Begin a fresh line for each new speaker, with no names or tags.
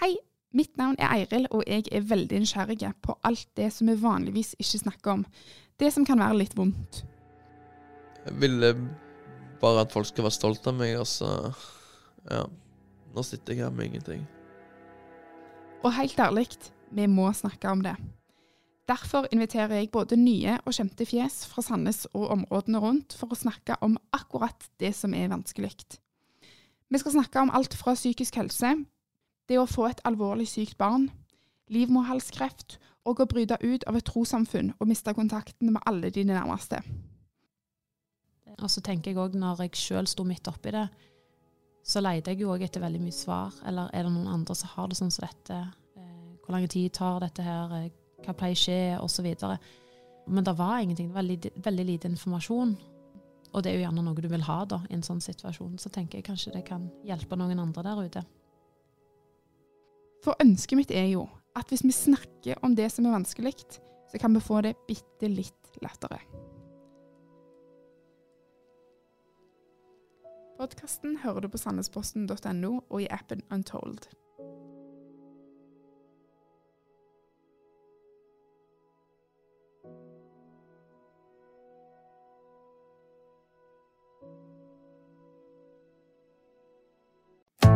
Hei, mitt navn er Eiril, og jeg er veldig nysgjerrig på alt det som vi vanligvis ikke snakker om. Det som kan være litt vondt.
Jeg ville bare at folk skal være stolt av meg, altså. Ja. Nå sitter jeg her med ingenting.
Og helt ærlig, vi må snakke om det. Derfor inviterer jeg både nye og kjente fjes fra Sandnes og områdene rundt for å snakke om akkurat det som er vanskelig. Vi skal snakke om alt fra psykisk helse, det å få et alvorlig sykt barn, livmorhalskreft og å bryte ut av et trossamfunn og miste kontakten med alle dine nærmeste.
Og så tenker jeg òg, når jeg sjøl sto midt oppi det, så leide jeg jo òg etter veldig mye svar. Eller er det noen andre som har det sånn som dette? Eh, Hvor lang tid tar dette her? Eh, Hva pleier å skje? Og så videre. Men det var ingenting. Det var lite, veldig lite informasjon. Og det er jo gjerne noe du vil ha da, i en sånn situasjon. Så tenker jeg kanskje det kan hjelpe noen andre der ute.
For ønsket mitt er jo at hvis vi snakker om det som er vanskelig, så kan vi få det bitte litt lettere. Podkasten hører du på sandnesposten.no og i appen Untold.